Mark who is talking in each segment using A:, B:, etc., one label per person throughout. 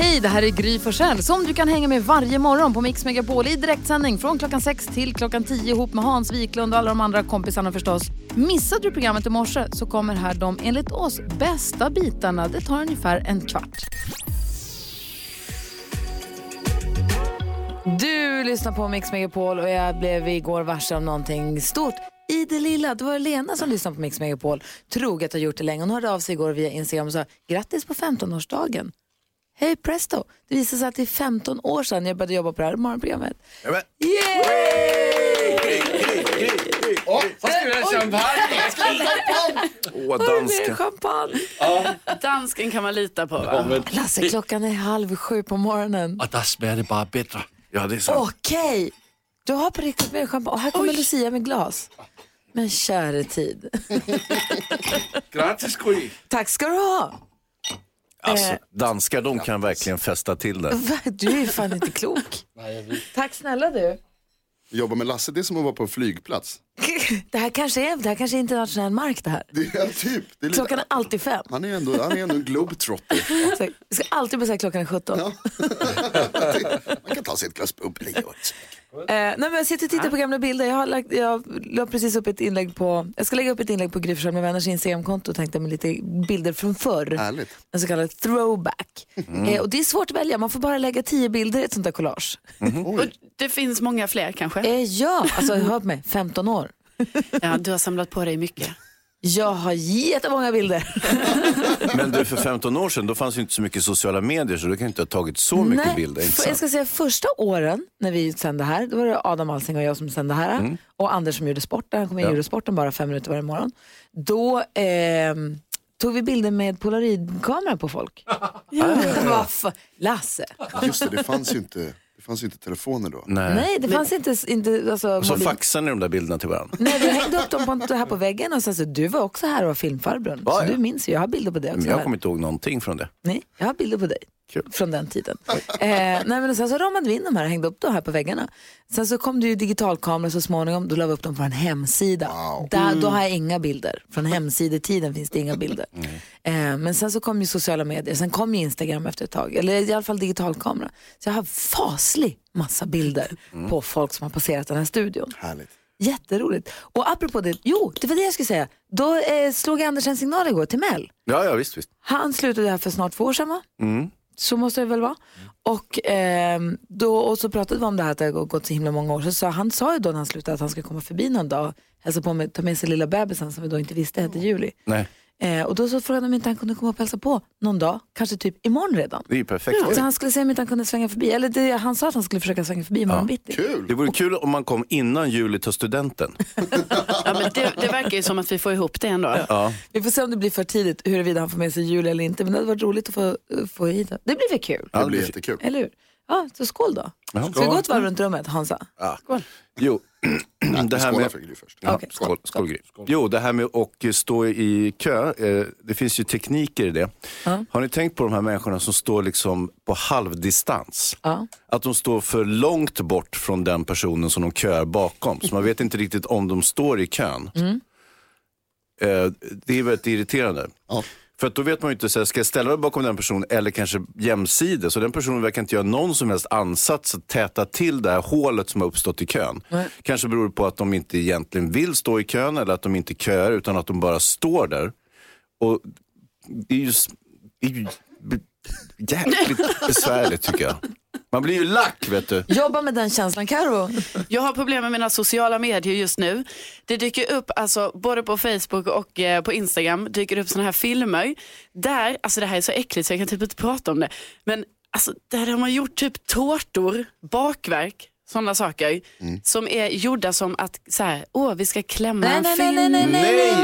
A: Hej, det här är Gry Forssell som du kan hänga med varje morgon på Mix Megapol i direktsändning från klockan 6 till klockan 10 ihop med Hans Wiklund och alla de andra kompisarna förstås. Missade du programmet i morse så kommer här de enligt oss bästa bitarna. Det tar ungefär en kvart. Du lyssnar på Mix Megapol och jag blev igår varse om någonting stort. I det lilla, det var Lena som lyssnade på Mix Megapol, troget har gjort det länge. Hon hörde av sig igår via Instagram och sa grattis på 15-årsdagen. Hej presto! Det visade sig att det är 15 år sedan jag började jobba på det här morgonprogrammet.
B: Jajamän.
A: Yay!
B: Åh,
A: vad ska vi ha champagne?
B: Åh,
A: Var det mer
B: danska.
A: champagne?
C: Dansken kan man lita på va?
A: Lasse, klockan är halv sju på morgonen.
B: Och där smäller det bara bättre. Ja, det är sant.
A: Okej, du har på riktigt mer champagne. Och här kommer Lucia med glas. Men käre tid.
B: Grattis, Gry.
A: Tack ska du ha.
D: Alltså,
A: Eh.
D: danskar de kan verkligen festa till det.
A: Va? Du är fan inte klok. Tack snälla du.
E: Jobba med Lasse, det är som att vara på en flygplats.
A: Det här kanske är, det här kanske är internationell mark det här.
E: Det är en typ. Det är
A: Klockan
E: lite,
A: är alltid fem.
E: han, är ändå, han är ändå en globetrotter.
A: Så Vi ska alltid bara säga klockan är 17.
E: Man kan ta sig ett glas bubbel. det gör inte så mycket.
A: Eh, nej men jag sitter och tittar på gamla bilder. Jag, har lagt, jag la precis upp ett inlägg på, jag ska lägga upp ett inlägg på Gry Forssell med vänners Instagramkonto tänkte med lite bilder från förr.
E: Härligt.
A: En så kallad throwback. Eh, och det är svårt att välja, man får bara lägga tio bilder i ett sånt där collage.
C: Och det finns många fler kanske?
A: Eh, ja, alltså hör på mig, 15 år.
C: Ja, du har samlat på dig mycket.
A: Jag har jättemånga bilder.
D: Men du, för 15 år sedan då fanns ju inte så mycket sociala medier så du kan ju inte ha tagit så mycket bilder. Inte
A: för- jag
D: sant?
A: ska säga första åren när vi sände här, då var det Adam Alsing och jag som sände här
D: Mm.
A: och Anders som gjorde sporten, han kom in och gjorde sporten bara fem minuter varje morgon. Då ehm, tog vi bilder med polaroidkamera på folk. Vad fa- Lasse.
E: Just det, det fanns ju inte, det fanns ju inte telefoner då.
D: Nej.
A: Nej, det fanns inte... inte alltså,
D: Och så
A: mobil-
D: faxar ni de där bilderna till varandra.
A: Nej, vi hängde upp dem på, här på väggen och sen så, du var också här och var filmfarbrorn.
D: Ja,
A: så
D: ja.
A: du minns ju, jag har bilder på det
D: Men
A: också.
D: jag
A: här.
D: kommer inte ihåg någonting från det.
A: Nej, jag har bilder på dig. Från den tiden. Eh, nej, men sen så ramade vi in de här och hängde upp dem här på väggarna. Sen så kom det ju digitalkameror så småningom. Då la vi upp dem på en hemsida. Där, Då har jag inga bilder. Från hemsidetiden finns det inga bilder. Eh, men sen så kom ju sociala medier. Sen kom ju Instagram efter ett tag. Eller i alla fall digitalkamera. Så jag har faslig massa bilder på folk som har passerat den här studion.
E: Härligt.
A: Jätteroligt. Och apropå det, jo, det var det jag skulle säga. Då eh, slog Anders en signal igår till Mel.
D: Ja, ja, visst, visst.
A: Han slutade här för snart två år sedan va?
D: Mm.
A: Så måste det väl vara. Och, ehm, då, och så pratade vi om det här att det har gått så himla många år. Så sa, han sa ju då när han slutade att han skulle komma förbi någon dag och hälsa på med, ta med sig lilla bebisen som vi då inte visste hette Julie.
D: Nej,
A: Eh, och då så frågade han om inte han kunde komma upp och hälsa på någon dag, kanske typ imorgon redan.
D: det är ju perfekt.
A: Så han skulle se om inte han kunde svänga förbi, eller det, han sa att han skulle försöka svänga förbi imorgon bitti.
D: Det vore kul om man kom innan juli tar studenten.
C: Ja, men det, det verkar ju som att vi får ihop det ändå.
D: Ja.
A: Vi får se om det blir för tidigt huruvida han får med sig Julie eller inte, men det hade varit roligt att få, eh, få hit honom. Det blir väl kul,
D: Ja,
E: Det blir
D: det-
E: jättekul.
A: eller hur? Ja, så skål då.
D: Ja.
A: Ska vi gå ett varv runt rummet, Hansa?
D: Jo, det här
E: Skåla
D: med...
E: för Gry först.
D: Ja,
A: Okej.
D: skål, skål, Gry. Jo, det här med att stå i kö, eh, det finns ju tekniker i det. Har ni tänkt på de här människorna som står liksom på halvdistans?
A: Ja.
D: Att de står för långt bort från den personen som de kör bakom. Så man vet inte riktigt om de står i kön. Eh, Det är väldigt irriterande.
E: Ja.
D: För att då vet man ju inte, så här, ska jag ställa mig bakom den personen eller kanske jämsides? Så den personen verkar inte göra någon som helst ansats att täta till det här hålet som har uppstått i kön. Kanske beror det på att de inte egentligen vill stå i kön eller att de inte köar utan att de bara står där. Och det är ju, s- det är ju b- jäkligt besvärligt tycker jag. Man blir ju lack vet du.
A: Jobba med den känslan, Karo.
C: Jag har problem med mina sociala medier just nu. Det dyker upp, alltså, både på Facebook och eh, på Instagram, dyker upp såna här filmer. Där, alltså det här är så äckligt så jag kan typ inte prata om det. Men alltså, där har man gjort typ tårtor, bakverk, sådana saker. Som är gjorda som att, så här, åh vi ska klämma
A: Nej,
C: en
A: nej, nej,
C: film.
A: nej, nej, nej, nej,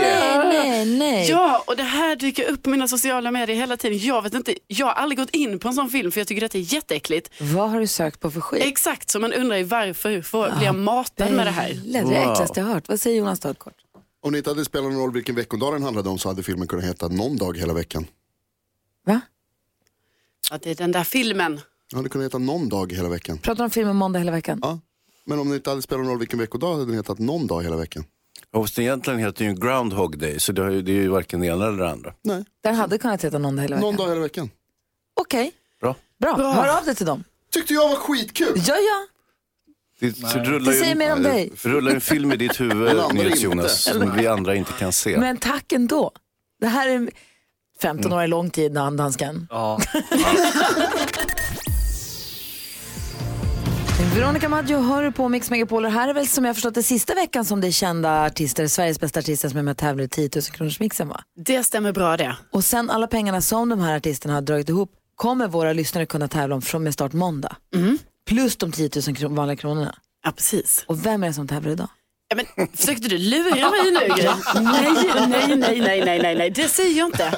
C: Nej.
A: nej, nej.
C: Ja, och det här dyker upp på mina sociala medier hela tiden. Jag vet inte, jag har aldrig gått in på en sån film för jag tycker att det är jätteäckligt.
A: Vad har du sökt på för skit?
C: Exakt, Ah, så man undrar ju varför får, blir jag matad med det här?
A: Pelle, Det är det äckligaste jag hört. Vad säger Jonas Dahlkort?
E: Om det inte hade spelat någon roll vilken veckodag den handlade om så hade filmen kunnat heta Någon dag hela veckan.
A: Va?
C: Ja, det är den där filmen.
E: Den hade kunnat heta Någon dag hela veckan.
A: Pratar om filmen måndag hela veckan?
E: Ja. Men om det inte hade spelat någon roll vilken veckodag hade den hetat Någon dag hela veckan.
D: Fast egentligen heter det ju Groundhog Day, så det har ju- det är ju varken det ena eller det andra.
E: Nej,
A: Den hade kunnat heta någon dag hela
E: Någon
A: veckan.
E: dag hela veckan.
A: Okej,
D: Bra.
A: bra. Hör av dig till dem.
E: Tyckte jag var skitkul.
A: Ja, ja.
D: Det, så rullar
A: Det
D: ju-
A: säger mer om dig.
D: rullar en film i ditt huvud,
E: Men andra
D: Nils
E: inte.
D: Jonas, som vi andra inte kan se.
A: Men tack ändå. Det här är 15 år är lång tid, dan- dansken.
F: Ja.
A: Veronica Maggio hör du på Mix Megapol och här är väl som jag förstått det sista veckan som det är kända artister, Sveriges bästa artister som är med och tävlar i 10 000 kronors mixen va?
C: Det stämmer bra det.
A: Och sen alla pengarna som de här artisterna har dragit ihop kommer våra lyssnare kunna tävla om från med start måndag. Plus de 10 000 kron- vanliga kronorna.
C: Ja, precis.
A: Och vem är det som tävlar idag?
C: Ja, men, försökte du lura mig nu? Gry? nej, nej, nej, nej, nej, nej, nej, det säger jag inte.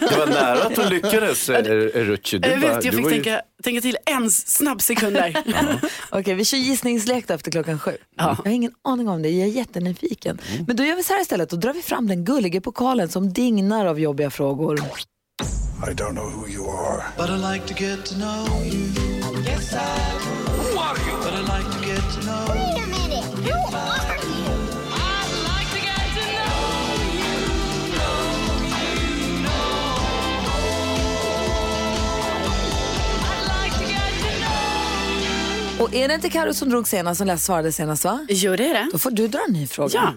D: Det var nära att du lyckades, Rucci.
C: Jag vet, jag
D: du
C: fick
D: var ju-
C: tänka, tänka till en snabb sekund där.
A: Okej, vi kör gissningslek då efter klockan sju. Jag har ingen aning om det, jag är jättenyfiken. Men då gör vi så här istället, då drar vi fram den gulliga pokalen som dignar av jobbiga frågor. Och är det inte Karo som drog senast, som läst svarade senast va?
C: Jo, det är det.
A: Då får du dra en ny fråga.
C: Ja,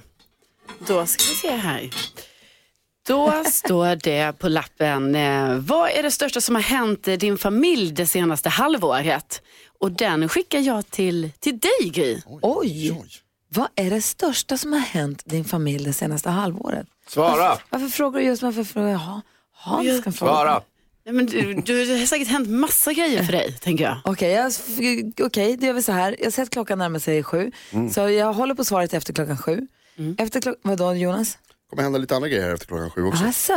C: då ska vi se här. Då står det på lappen, eh, vad är det största som har hänt eh, din familj det senaste halvåret? Och den skickar jag till, till dig Gry.
A: Oj, vad är det största som har hänt din familj det senaste halvåret?
D: Svara!
A: Varför frågar du just mig? Varför frågar jag Ha- Hans? Ska fråga.
D: Svara!
C: Nej, men du, du, det har säkert hänt massa grejer för dig, tänker jag.
A: Okej, jag, okej, det gör vi så här. Jag har sett klockan närma sig sju, så jag håller på svaret efter klockan sju. Efter klockan, vadå Jonas?
E: kommer hända lite andra grejer här efter klockan sju också.
A: Alltså,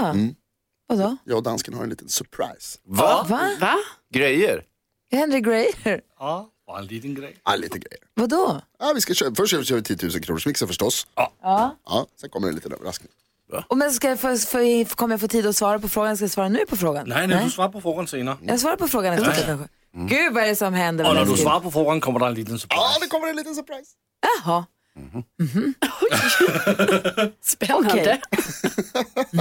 A: vadå?
E: Jag och dansken har en liten surprise.
D: Va?
A: Va?
C: Va?
D: Grejer?
A: Henry Greyer?
F: ja. Bara en liten grej.
E: Ja, lite grejer.
A: Vadå?
E: Ja, vi ska köra, först kör vi- kör vi 10 000 kronors mixen förstås. Ja. ja. Sen kommer det en liten överraskning.
A: Och men ska jag få, få, kommer jag få tid att svara på frågan? Ska jag svara nu på frågan?
G: Nej, nej, du svarar på frågan senere.
A: Jag svarar på frågan efter klockan sju. Gud, vad är det som händer?
G: Og
A: Vad
G: når du
A: läskigt.
G: svarer på frågan, kommer der en liten surprise.
E: Ja, det kommer en liten surprise.
A: Jaha.
C: Spännande.
A: Okej.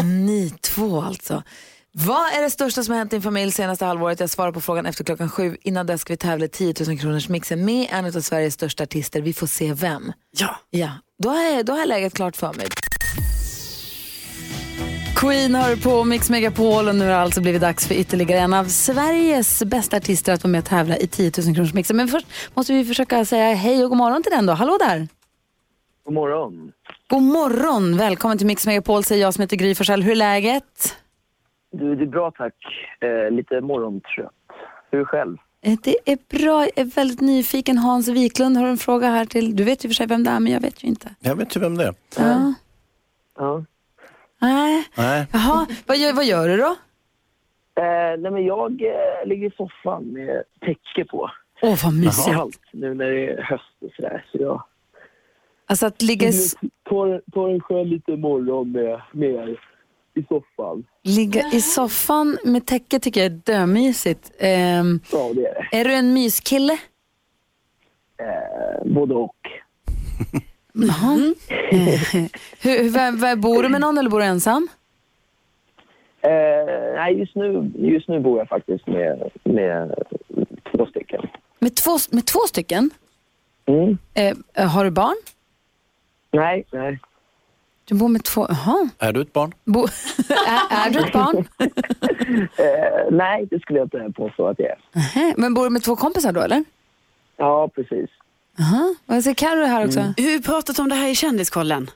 A: Ni två alltså. Vad är det största som har hänt i din familj senaste halvåret? Jag svarar på frågan efter klockan sju. Innan dess ska vi tävla i 10 000 kronors mixen med en av Sveriges största artister. Vi får se vem.
C: Ja.
A: Ja, då har jag, då har jag läget klart för mig. Queen hör på Mix Megapol och nu har det alltså blivit dags för ytterligare en av Sveriges bästa artister att vara med och tävla i 10 000 kronors mixen. Men först måste vi försöka säga hej och god morgon till den då. Hallå där!
H: God morgon.
A: God morgon! Välkommen till Mix Megapol säger jag som heter Gry Forssell. Hur är läget?
H: Du, det är bra tack. Eh, lite morgontrött. Hur själv?
A: Eh, Det är bra. Jag är väldigt nyfiken. Hans Wiklund har en fråga här till... Du vet ju för sig vem det är, men jag vet ju inte.
D: Jag vet inte vem det är.
A: Ja.
H: Ja.
A: Nej.
D: Nej.
A: Jaha, vad gör, vad gör du då?
H: Eh, nej men jag eh, ligger i soffan med täcke på.
A: Åh, vad
H: Det är
A: mysigt.
H: kallt nu när det är höst och sådär. Så jag
A: Alltså att ligga, i s-
H: tar, tar en skön liten morgon med, med er i soffan.
A: ligga i soffan med täcke tycker jag är dömysigt. Ehm,
H: Ja, det är det.
A: är du en myskille?
H: Eh, både och.
A: Hur, hur, vem- vem- bor du med någon eller bor du ensam?
H: Eh, nej, just nu, just nu bor jag faktiskt med, med två stycken.
A: Med två, med två stycken?
H: Mm.
A: Eh, har du barn?
H: Nej, nej.
A: Du bor med två... Jaha.
D: Är du ett barn?
A: Bo, är, är du ett barn?
H: Eh, nej, det skulle jag inte påstå att jag är.
A: Nähä, Men bor du med två kompisar då, eller?
H: Ja, precis.
A: Jaha. Vad säger Carro här också?
H: Mm.
C: Vi har ju pratat om det här i Kändiskollen.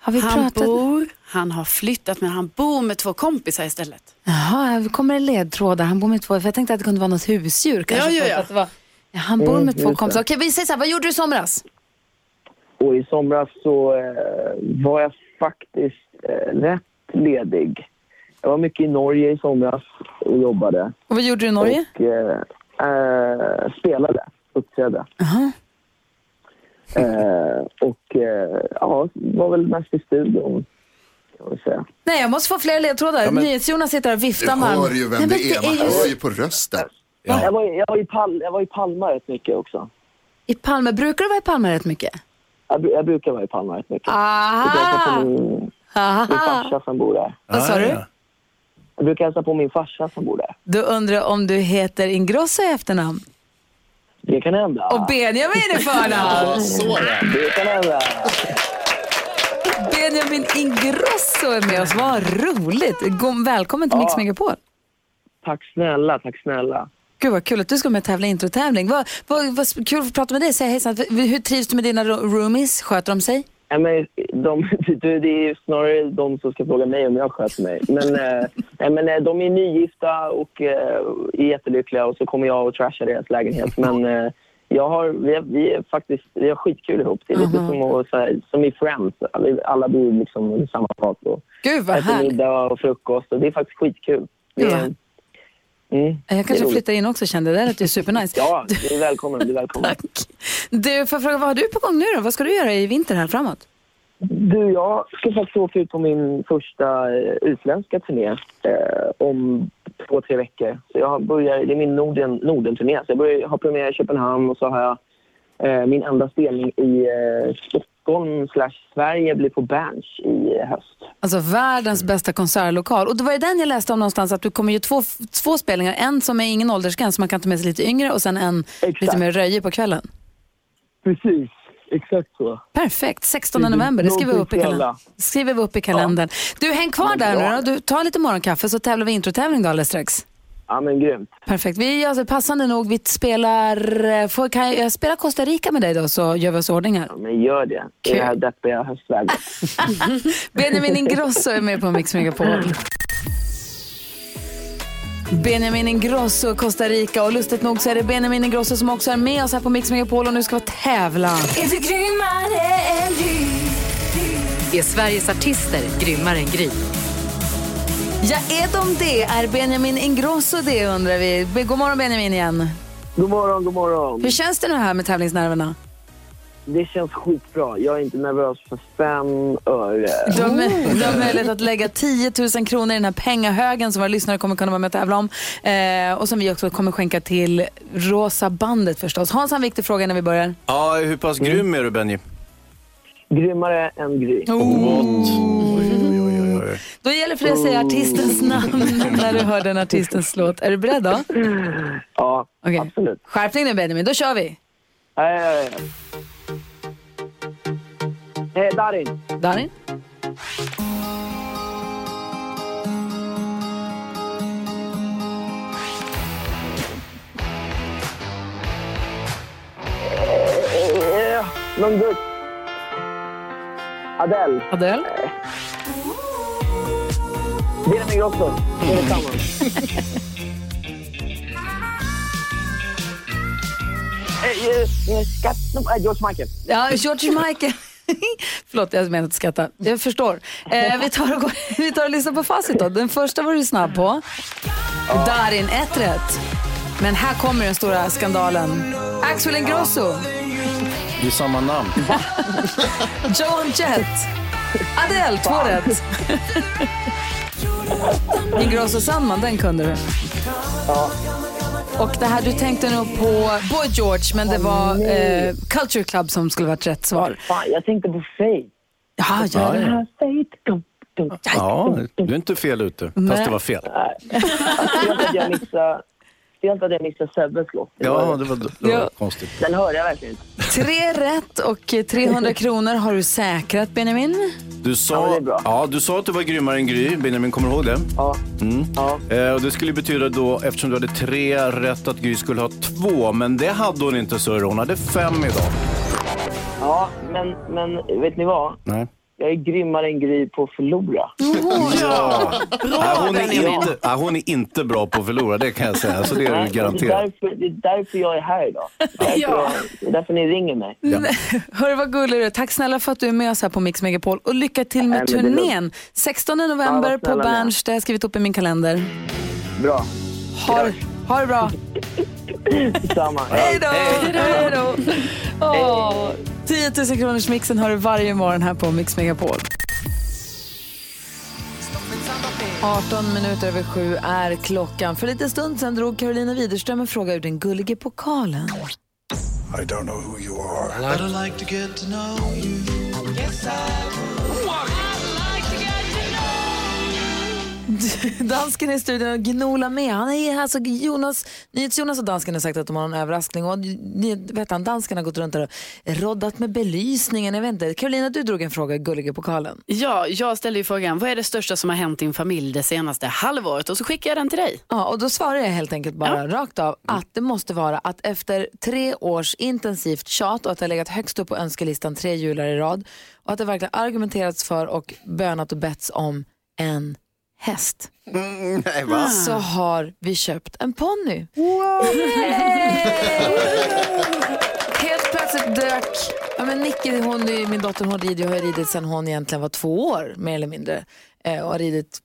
A: Har vi
C: Han
A: pratat?
C: bor, han har flyttat men han bor med två kompisar istället.
A: Jaha, här kommer det ledtrådar. Han bor med två, för jag tänkte att det kunde vara något husdjur kanske.
C: Ja, ja,
A: för
C: ja.
A: Att det var... ja, han bor
H: Mm,
A: med två
H: just
A: kompisar. Okej, vi säger så här, vad gjorde du i somras?
H: Och i somras så eh, var jag faktiskt eh, rätt ledig. Jag var mycket i Norge i somras och jobbade.
A: Och vad gjorde du i Norge?
H: Och eh, eh, spelade, uppträdde. Eh, och eh, ja, var väl mest i studion, kan man säga.
A: Nej, jag måste få fler ledtrådar.
H: Ja, men-
A: NyhetsJonas sitter här och
E: Du
A: viftar med
E: hör
A: armen.
E: ju
A: Nej,
E: vem
A: men
E: det är, man
A: ju-
E: hör ju på rösten.
H: Jag, var, jag, var i Pal, jag var i Palma rätt mycket också.
A: I Palme, brukar du vara i Palme rätt mycket? Ah.
H: Jag, bru- jag brukar vara i Palma rätt mycket. Jag brukar hälsa
A: Aha!
H: på min,
A: Ah.
H: min
A: Aha!
H: farsa som bor där.
A: Vad sa du?
H: Jag brukar hälsa på min farsa som bor där.
A: Du undrar om du heter Ingrosso i efternamn?
H: Det kan hända.
A: Och Benjamin i förnamn!
H: Det kan hända.
A: Benjamin Ingrosso är med oss. Vad roligt! God, välkommen till Mix Megapol.
H: Tack snälla, tack snälla.
A: Gud vad kul att du ska med och tävla i introtävling. Vad, vad, vad kul att få prata med dig. Säg hejsan. Hur trivs du med dina ro- roomies? Sköter de sig?
H: Nej, men de, du, det är ju snarare de som ska fråga mig om jag sköter mig. Men, eh, nej, men eh, de är nygifta och eh, är jättelyckliga och så kommer jag och trashar deras lägenhet. Men eh, jag har, vi, är, vi är faktiskt vi har skitkul ihop. Det är lite som, att, så här, som i Friends. Alla- Alla bor liksom i samma fat och
A: Gud vad
H: äter
A: härligt.
H: middag och frukost. Och det är faktiskt skitkul. Det är,
A: Gud,
H: mm,
A: Jag
H: det är
A: kanske
H: roligt.
A: flyttar in också kände det att du är supernice.
H: Ja, du är välkommen. Du är välkommen.
A: Du, får jag fråga, vad har du på gång nu då? Vad ska du göra i vinter här framåt?
H: Du, jag ska faktiskt åka ut på min första eh, utländska turné eh, om två, tre veckor. Så jag börjar, det är min Norden- Norden-turné. så jag börjar, har premiär i Köpenhamn och så har jag eh, min enda spelning i eh, Stockholm slash Sverige blir på Berns i höst.
A: Alltså världens
H: Mm.
A: bästa konsertlokal. Och det var ju den jag läste om någonstans att du kommer ju två, två spelningar. En som är ingen åldersgräns så man kan ta med sig lite yngre och sen en lite mer röjig på kvällen.
H: Precis, exakt så.
A: Perfekt, 16
H: Precis,
A: november. Det skriver vi upp i
H: någonting för alla.
A: kalendern. Skriver vi upp i kalendern. Du, häng kvar där nu då. Du, ta lite morgonkaffe så tävlar vi introtävling då alldeles strax.
H: Ja, men grymt.
A: Perfekt. Vi, alltså, passande nog, vi spelar... eh, Får, kan jag spela Costa Rica med dig då så gör vi oss i ordning här.
H: Ja, men gör det. I det här deppiga höstvädret.
A: Benjamin Ingrosso är med på Mix Megapol. Benjamin Ingrosso, Costa Rica och lustigt nog så är det Benjamin Ingrosso som också är med oss här på Mix Megapol och nu ska vi tävla.
I: Är du grymmare än Gry?
J: Är Sveriges artister grymmare än Gry?
A: Ja, är de det? Är Benjamin Ingrosso det undrar vi. Men God morgon Benjamin igen.
H: God morgon, god morgon.
A: Hur känns det nu här med tävlingsnerverna?
H: Det känns skitbra. Jag är inte nervös för fem öre.
A: Du har, mö- du har möjlighet att lägga 10 000 kronor i den här pengahögen som våra lyssnare kommer kunna vara med och tävla om. Eh, och som vi också kommer skänka till Rosa bandet förstås. Hans, han viktig fråga när vi börjar.
D: Ja, hur pass grym är du Benji?
H: Grymmare än Gry.
A: Då gäller det för dig att säga artistens namn när du hör den artistens låt. Är du beredd då?
H: Ja,
A: absolut. Skärpning nu Benjamin, då kör vi.
H: Nej, nej, nej. Eh, Darin.
A: Darin?
H: Eh, Någon gutt. Adele.
A: Adele.
H: Benjamin Ingrosso. Det är detsamma. Eh, eh, eh, Skatt... eh, George Michael.
A: Ja, George Michael. Förlåt, jag menade inte skratta. Jag förstår. Eh, vi, tar och går, vi tar och lyssnar på facit då. Den första var du snabb på. Darin, ett rätt. Men här kommer den stora skandalen. Axel Ingrosso,
D: Det är samma namn.
A: Joan Jett, Adele, två rätt. Ingrosso Sandman, den kunde du.
H: Ja.
A: Och det här du tänkte nog på Boy George, men det var eh, Culture Club som skulle varit rätt svar.
H: Fan, jag tänkte på Faith.
A: Ja, ja, ja.
D: Ja, du är inte fel ute. Fast
H: Nej.
D: det var fel.
H: Helt att jag missade... Helt att jag missade Sebbes låt.
D: Ja, det var, det var konstigt.
H: Den hörde jag verkligen inte.
A: Tre rätt och eh, 300 kronor har du säkrat, Benjamin.
D: Du sa, ja, du sa att du var grymmare än Gry. Benjamin, kommer du ihåg det?
H: Ja.
D: Mm. Eh, och det skulle betyda då, eftersom du hade tre rätt, att Gry skulle ha två. Men det hade hon inte, så hon hade fem idag.
H: Ja, men, men vet ni vad?
D: Nej.
H: Jag är grymmare än Gry på att förlora.
D: Ja! Nej, Äh, hon, är
H: Benjamin.
D: inte, nej, hon är inte bra på att förlora, det kan jag säga. Så det är
H: Nej,
D: du
H: Det är
D: garanterat.
H: därför, det är därför jag är här idag. Det är därför, jag, det är därför ni ringer mig.
A: Hör vad gullig du är. Tack snälla för att du är med oss här på Mix Megapol och lycka till med
H: Nej, men det är
A: turnén. 16 november
H: Ja, vad snälla
A: på
H: ni är.
A: Berns, det har jag skrivit upp i min kalender.
H: Bra.
A: Ha, ha det bra.
H: Detsamma.
A: Hej då! Hej då! Åh, 10 000 kronors mixen har du varje morgon här på Mix Megapol. 18 minuter över sju är klockan. För lite stund sedan drog Carolina Widerström en fråga ur den gullige pokalen.
K: I don't know who you are.
I: like to get to know you. Yes, I
A: Dansken är i studion och gnolar med. Han är alltså Jonas, Jonas och dansken har sagt att de har en överraskning. Och ni vet han, dansken har gått runt där och roddat med belysningen. Jag vet inte. Carolina, du drog en fråga i gulliga pokalen.
C: Ja, jag ställde ju frågan, vad är det största som har hänt din familj det senaste halvåret? Och så skickade jag den till dig.
A: Ja, och då svarar jag helt enkelt bara rakt av att det måste vara att efter tre års intensivt tjat och att det har legat högst upp på önskelistan tre jular i rad och att det verkligen argumenterats för och bönat och betts om en häst.
I: Mm, nej, va?
A: Så har vi köpt en ponny. Helt plötsligt dök ja, men Nicky, hon, är ju- min dotter, hon rider och har ridit sedan hon egentligen var två år, mer eller mindre. Eh, och har ridit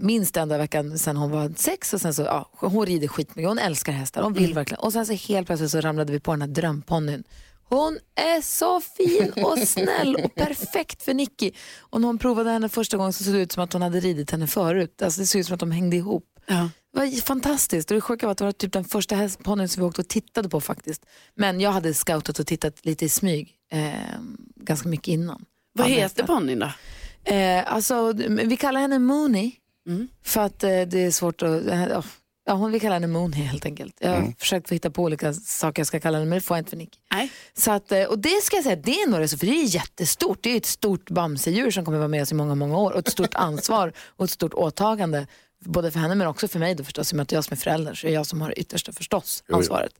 A: minst en dag i veckan sedan hon var sex. Och sen så, ja, hon rider skitmycket, hon älskar hästar, hon vill verkligen. Och sen så helt plötsligt så ramlade vi på den här drömponnyn. Hon är så fin och snäll och perfekt för Nicky. Och när hon provade henne första gången så såg det ut som att hon hade ridit henne förut. Alltså det såg ut som att de hängde ihop. Det var fantastiskt. Och det sjuka var att det var typ den första hästponnyn som vi åkte och tittade på faktiskt. Men jag hade scoutat och tittat lite i smyg eh, ganska mycket innan.
C: Vad
A: Alla
C: heter
A: hästar.
C: ponnyn då?
A: Eh, alltså, vi kallar henne Mooney för att eh, det är svårt att... eh, ja, Ja, hon vill kalla henne Mooney helt enkelt. Jag har försökt få hitta på olika saker jag ska kalla henne, men det får jag inte för Nicky. Så att, eh, och det ska jag säga, det är nog det, så- för det är jättestort. Det är ju ett stort bamsedjur som kommer vara med oss i många, många år och ett stort ansvar och ett stort åtagande. Både för henne men också för mig då förstås, i och med att jag som är förälder så är jag som har det yttersta förstås
I: Jo, jo.
A: ansvaret.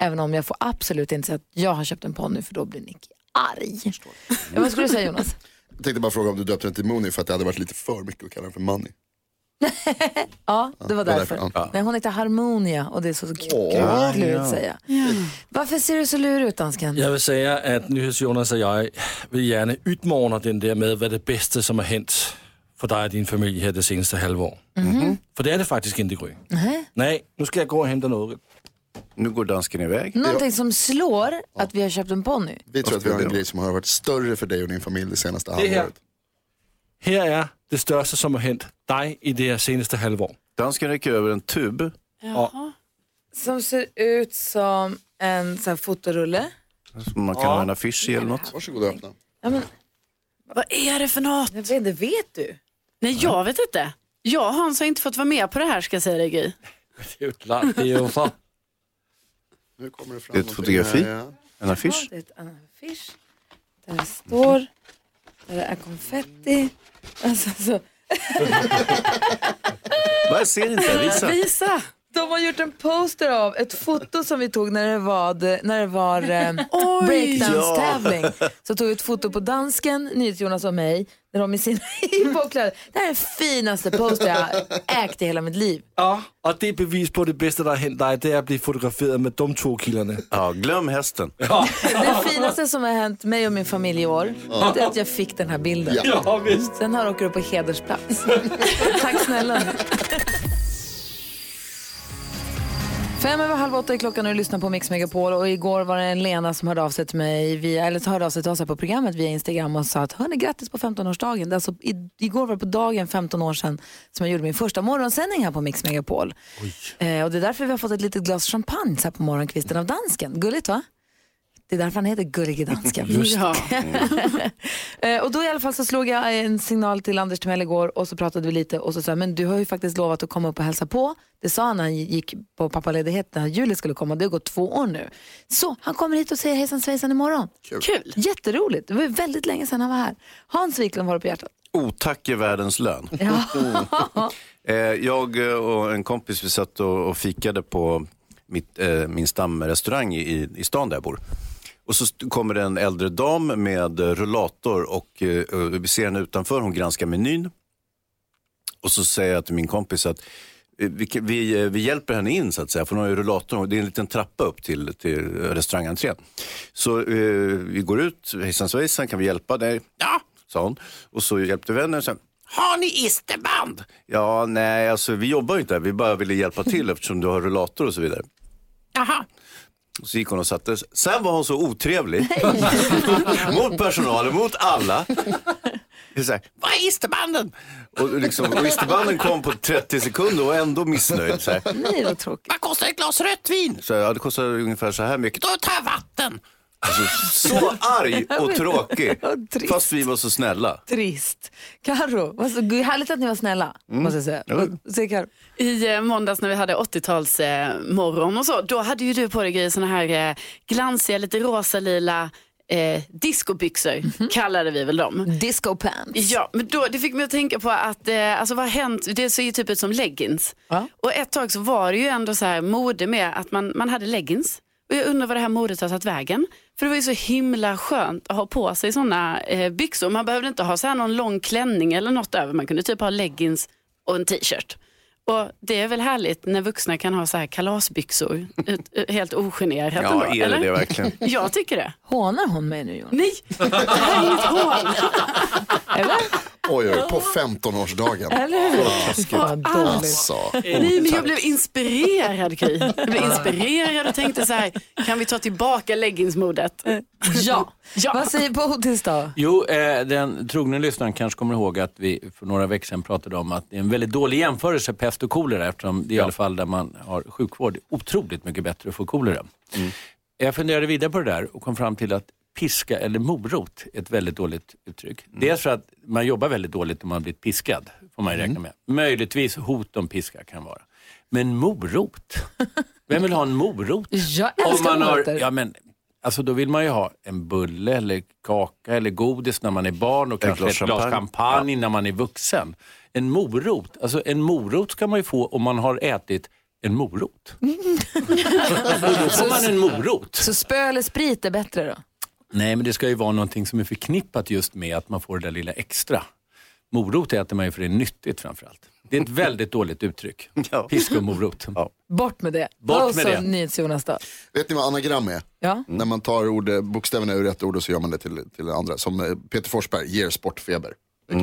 A: Även om jag får absolut inte säga att jag har köpt en ponny för då blir Nicky arg. Ja, Vad skulle du säga Jonas?
E: Jag tänkte bara fråga om du döpte den till Mooney för att det hade varit lite för mycket att kalla den för Money.
A: Ja, det var
E: det var
A: därför.
E: därför, ja.
A: Nej, hon heter Harmonia och det är så kul
G: Åh,
A: klurigt
G: ja.
A: att säga. Varför ser du så lurig ut dansken?
G: Jag vill säga att NyhetsJonas och jag vill gärna utmana den där med vad det bästa som har hänt för dig och din familj här det senaste halvåret.
A: Mhm.
G: För det är det faktiskt inte Gry.
A: Nej.
G: Nej, nu ska jag gå och hämta något.
D: Nu går dansken iväg.
A: Någonting som slår att vi har köpt en ponny.
E: Vi tror att vi har en grej som har varit större för dig och din familj det senaste
G: Det här.
E: halvåret.
G: Här är det största som har hänt dig i det här senaste halvåret.
D: Dansken räcker över en tub.
A: Som ser ut som en sån här fotorulle.
D: Som man kan
A: Ja.
D: ha en affisch i eller något.
E: Varsågod och öppna.
A: Ja, men,
C: Vad är det för något?
A: Jag vet, det vet du.
C: Nej, jag vet inte. Jag och Hans har inte fått vara med på det här ska jag säga dig Gry.
G: Det är ju klart, det är ju fan.
E: Nu kommer det fram
D: Det är ett
E: någonting här,
D: fotografi.
E: ja.
D: En affisch.
A: Ja, det är en affisch. Där det står, där det är konfetti. Alltså, så.
D: Vad ser inte? Visa.
A: De har gjort en poster av ett foto som vi tog när det var, när det var eh,
I: Oj!
A: breakdance-tävling.
I: Ja.
A: Så tog vi ett foto på dansken, NyhetsJonas och mig när de i sina hiphopkläder. Det här är den finaste poster jag har ägt i hela mitt liv.
G: Ja, och det är bevis på det bästa der har hänt dig, det är att bli fotograferad med de två killarna.
D: Ja, glöm hästen.
G: Ja,
A: Det finaste som har hänt mig och min familj i år
G: Ja.
A: det är att jag fick den här bilden.
G: Ja, visst.
A: Den här åker upp på hedersplats. Tack snälla. Fem över halv åtta är klockan och du lyssnar på Mix Megapol. Och igår var det en Lena som hörde av sig till mig, via, eller hörde av sig till oss här på programmet via Instagram och sa att hörni, grattis på 15-årsdagen. Det är Alltså, i, igår var det på dagen 15 år sedan som jag gjorde min första morgonsändning här på Mix Megapol. Eh, och det är därför vi har fått ett litet glas champagne så här på morgonkvisten av dansken. Gulligt va? Det är därför han heter Gullige Dansken.
I: Just det.
A: Eh, och då i alla fall så slog jag en signal till Anders Timell igår och så pratade vi lite och så sa jag, men du har ju faktiskt lovat att komma upp och hälsa på. Det sa han när han gick på pappaledighet när Julie skulle komma. Det har gått två år nu. Så han kommer hit och säger hejsan svejsan imorgon.
D: Kul.
A: Jätteroligt. Det var ju väldigt länge sedan han var här. Hans Wiklund var det på hjärtat.
D: Otack är världens lön.
A: Ja.
D: Eh, jag eh, och en kompis vi satt och, och fikade på mitt, eh, min stamrestaurang i, i stan där jag bor. Och så st- kommer det en äldre dam med eh, rullator och eh, eh, vi ser henne utanför, hon granskar menyn. Och så säger jag till min kompis att eh, vi, kan- vi, eh, vi hjälper henne in så att säga, för hon har ju rullatorn och det är en liten trappa upp till, till eh, restaurangentrén. Så eh, vi går ut, hejsan svejsan, kan vi hjälpa dig? Ja, sa hon. Och så hjälpte vi henne. och sen, Har ni isterband? Ja, nej, alltså vi jobbar ju inte där. Vi bara ville hjälpa till eftersom du har rullator och så vidare. Jaha. Så gick hon och satte sig. Sen var hon så otrevlig. mot personalen, mot alla. Det är så här, Vad är isterbanden? och, liksom, och isterbanden kom på 30 sekunder och ändå missnöjd. Så här.
A: Nej, vad tråkigt.
D: Vad kostar ett glas rött vin? Så här, ja, det kostar ungefär så här mycket. Då tar jag vatten. Alltså, så arg och tråkig. Fast vi var så snälla.
A: Trist. Karo, vad så gud, härligt att ni var snälla. Måste jag säga. Vad säger Karo?
C: I eh, måndags när vi hade 80-talsmorgon eh, morgon och så, då hade ju du på dig grejer såna här eh, glansiga, lite rosa-lila eh, discobyxor,
I: Mhm.
C: kallade vi väl dem.
A: Disco pants.
C: Ja, men då, det fick mig att tänka på att eh, alltså vad har hänt, det ser ju typ ut som leggings. Och ett tag så var det ju ändå så här mode med att man, man hade leggings. Och jag undrar vad det här modet har tagit vägen. För det var ju så himla skönt att ha på sig sådana eh, byxor. Man behövde inte ha så här någon lång klänning eller något över. Man kunde typ ha leggings och en t-shirt. Och Det är väl härligt när vuxna kan ha så här kalasbyxor ut, ut, helt ogenerat.
D: Ja,
C: ändå,
D: är det
C: eller?
D: det verkligen?
C: Jag tycker det.
A: Hånar hon mig nu, Jonas?
C: Nej, det här är inget hån.
E: Oj, oj, på 15-årsdagen.
A: Eller hur?
C: Vad dåligt.
E: Alltså.
C: Nej, men jag blev inspirerad, Gry. Jag blev inspirerad och tänkte så här, kan vi ta tillbaka leggingsmodet?
A: Ja. Vad säger Bodis då?
L: Jo, eh, den trogne lyssnaren kanske kommer ihåg att vi för några veckor sedan pratade om att det är en väldigt dålig jämförelse pest och kolera eftersom det är i alla fall där man har sjukvård otroligt mycket bättre att få kolera. Jag funderade vidare på det där och kom fram till att piska eller morot är ett väldigt dåligt uttryck.
D: Mm.
L: Dels för att man jobbar väldigt dåligt om man blivit piskad, får man ju
D: Mm.
L: räkna med. Möjligtvis hot om piska kan vara. Men morot? Vem vill ha en morot?
A: Jag
L: om
A: älskar
L: man har,
A: morötter.
L: ja, men, alltså Då vill man ju ha en bulle eller kaka eller godis när man är barn och kanske
D: glas
L: ett glas
D: champagne.
L: champagne när man är vuxen. En morot, alltså en morot ska man ju få om man har ätit en morot. då får man en morot.
A: Så spö eller sprit är bättre då?
L: Nej, men det ska ju vara någonting som är förknippat just med att man får det där lilla extra. Morot äter man ju för det är nyttigt framförallt. Det är ett väldigt dåligt uttryck. Pisk och morot.
A: Bort med det.
L: Bort
A: och
L: med
A: så
L: det.
A: NyhetsJonas då.
E: Vet ni vad anagram är?
A: Ja.
E: När man tar ord, bokstäverna ur ett ord och så gör man det till, till det andra. Som eh, Peter Forsberg ger sportfeber. Vet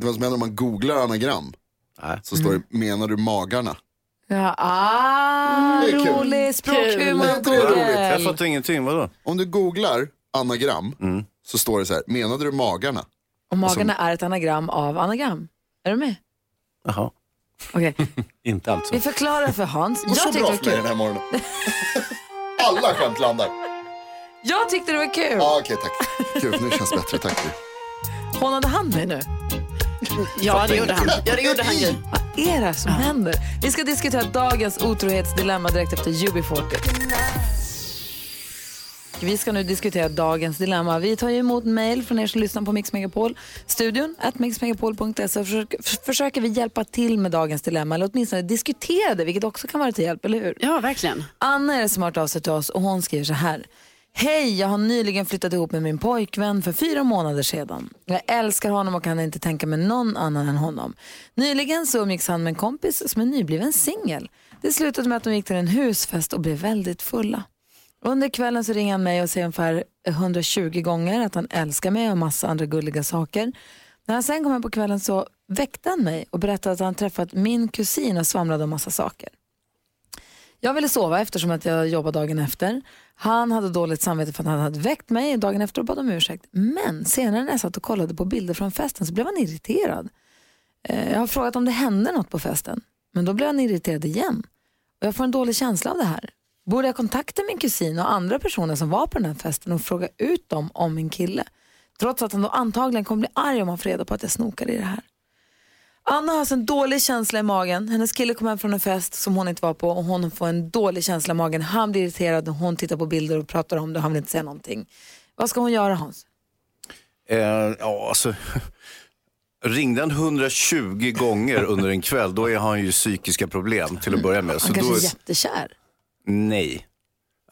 E: ni vad som händer om man googlar anagram? Så står det, menar du magarna?
A: Ja, ah,
E: Det är kul.
A: rolig språkhumor och
E: Jag
A: Google.
E: fattar
D: ingenting, vadå?
E: Om du googlar anagram så står det så här, menade du magarna?
A: Och
E: Och
A: magarna är ett anagram av anagram. Är du med?
L: Jaha.
A: Okej.
L: Inte alltså.
A: Vi förklarar för Hans.
E: Och så
A: Jag
E: bra
A: tyckte det
E: för mig
A: var
E: den
A: kul.
E: här morgonen. Alla skämt landar.
A: Jag tyckte det var kul.
E: Ja, okej, tack. Gud, nu känns det bättre, tack.
A: Hånade han mig nu?
C: Ja, det gjorde han. Ja, det gjorde han ju.
A: Vad är det som händer? Vi ska diskutera dagens otrohetsdilemma direkt efter UB40. Vi ska nu diskutera dagens dilemma. Vi tar ju emot mejl från er som lyssnar på Mix Megapol. Studion, at mixmegapol.se. Försöker, f- försöker vi hjälpa till med dagens dilemma, eller åtminstone diskutera det, vilket också kan vara till hjälp, eller hur?
C: Ja, verkligen.
A: Anna är det som har hört av sig till oss och hon skriver så här. Hej, jag har nyligen flyttat ihop med min pojkvän för fyra månader sedan. Jag älskar honom och kan inte tänka mig någon annan än honom. Nyligen så umgicks han med en kompis som är nybliven singel. Det slutade med att de gick till en husfest och blev väldigt fulla. Under kvällen så ringer han mig och säger ungefär 120 gånger att han älskar mig och massa andra gulliga saker. När han sen kom hem på kvällen så väckte han mig och berättade att han träffat min kusin och svamlade om massa saker. Jag ville sova eftersom att jag jobbade dagen efter. Han hade dåligt samvete för att han hade väckt mig dagen efter och bad om ursäkt. Men senare när jag satt och kollade på bilder från festen så blev han irriterad. Eh, Jag har frågat om det hände något på festen, men då blev han irriterad igen. Och jag får en dålig känsla av det här. Borde jag kontakta min kusin och andra personer som var på den här festen och fråga ut dem om min kille? Trots att han då antagligen kommer bli arg om han får reda på att jag snokar i det här. Anna har alltså en dålig känsla i magen. Hennes kille kom hem från en fest som hon inte var på och hon får en dålig känsla i magen. Han blir irriterad och hon tittar på bilder och pratar om det och han vill inte säga någonting. Vad ska hon göra Hans?
D: Eh, ja, alltså. Ringde han 120 gånger under en kväll, då är han ju psykiska problem till att börja med.
A: Han kanske
D: då,
A: är jättekär.
D: Nej.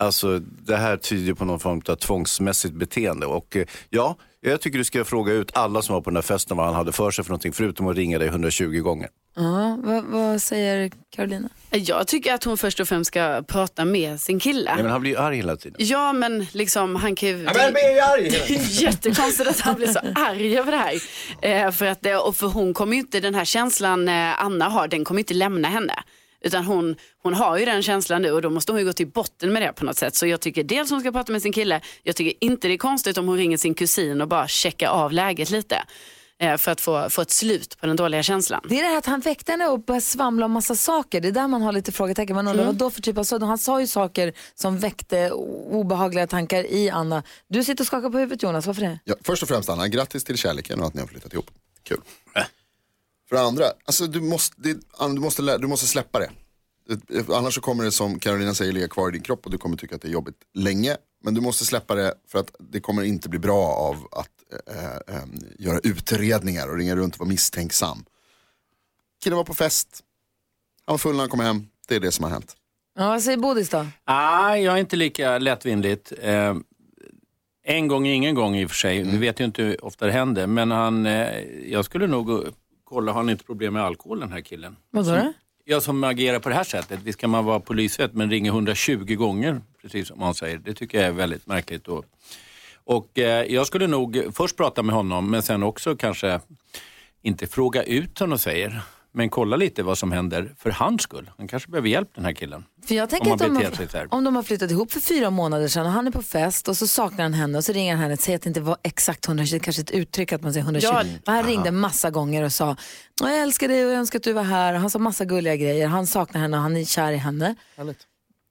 D: Alltså det här tyder på någon form av tvångsmässigt beteende. Och eh, ja, jag tycker du ska fråga ut alla som var på den där festen vad han hade för sig för någonting, förutom att ringa dig 120 gånger.
A: Ja, vad, vad säger Carolina?
C: Jag tycker att hon först och främst ska prata med sin kille.
D: Nej, men han blir ju arg hela tiden.
C: Ja, men liksom han kan ju...
D: Ja, men han blir ju arg.
C: Det är jättekonstigt att han blir så arg över det här. Eh, för, att, det- och för hon kommer ju inte, den här känslan eh, Anna har, den kommer ju inte lämna henne. Utan hon, hon har ju den känslan nu och då måste hon ju gå till botten med det på något sätt. Så jag tycker dels hon ska prata med sin kille. Jag tycker inte det är konstigt om hon ringer sin kusin och bara checkar av läget lite. eh, För att få, få ett slut på den dåliga känslan.
A: Det är det här att han väckte henne och började svamla om massa saker. Det är där man har lite frågetecken. Man undrar
C: Mm.
A: vad då för typ av sådant. Han sa ju saker som väckte obehagliga tankar i Anna. Du sitter och skakar på huvudet Jonas, varför det?
E: Ja, först och främst Anna, grattis till kärleken och att ni har flyttat ihop. Kul. För det andra, alltså, du, måste, det, Anna, du, måste, lä- du måste släppa det. Det- Annars så kommer det som Carolina säger ligga kvar i din kropp och du kommer tycka att det är jobbigt länge. Men du måste släppa det för att det kommer inte bli bra av att eh, eh, göra utredningar och ringa runt och vara misstänksam. Killen var på fest, han var full när han kom hem, det är det som har hänt.
A: Ja, vad säger Bodis då?
L: Ah, jag är inte lika lättvindigt. Eh, en gång är ingen gång i och för sig. Vi vet ju inte hur ofta det händer. Men han, eh, jag skulle nog eh, kolla, har han inte problem med alkohol den här killen?
A: Vadå då?
L: Jag som agerar på det här sättet, visst kan man vara polisrätt men ringer 120 gånger, precis som han säger. Det tycker jag är väldigt märkligt. Och, och eh, jag skulle nog först prata med honom, men sen också kanske inte fråga ut honom säger, men kolla lite vad som händer för hans skull. Han kanske behöver hjälp den här killen.
A: För jag
L: Om
A: tänker
L: man
A: att om,
L: beter sig så här.
A: har, om de har flyttat ihop för fyra månader sedan och han är på fest och så saknar han henne och så ringer han henne och säger att det inte var exakt 120, kanske ett uttryck att man säger 120.
C: Ja.
A: Men han ringde massa gånger och sa jag älskar dig och jag önskar att du var här. Han sa massa gulliga grejer. Han saknar henne och han är kär i henne.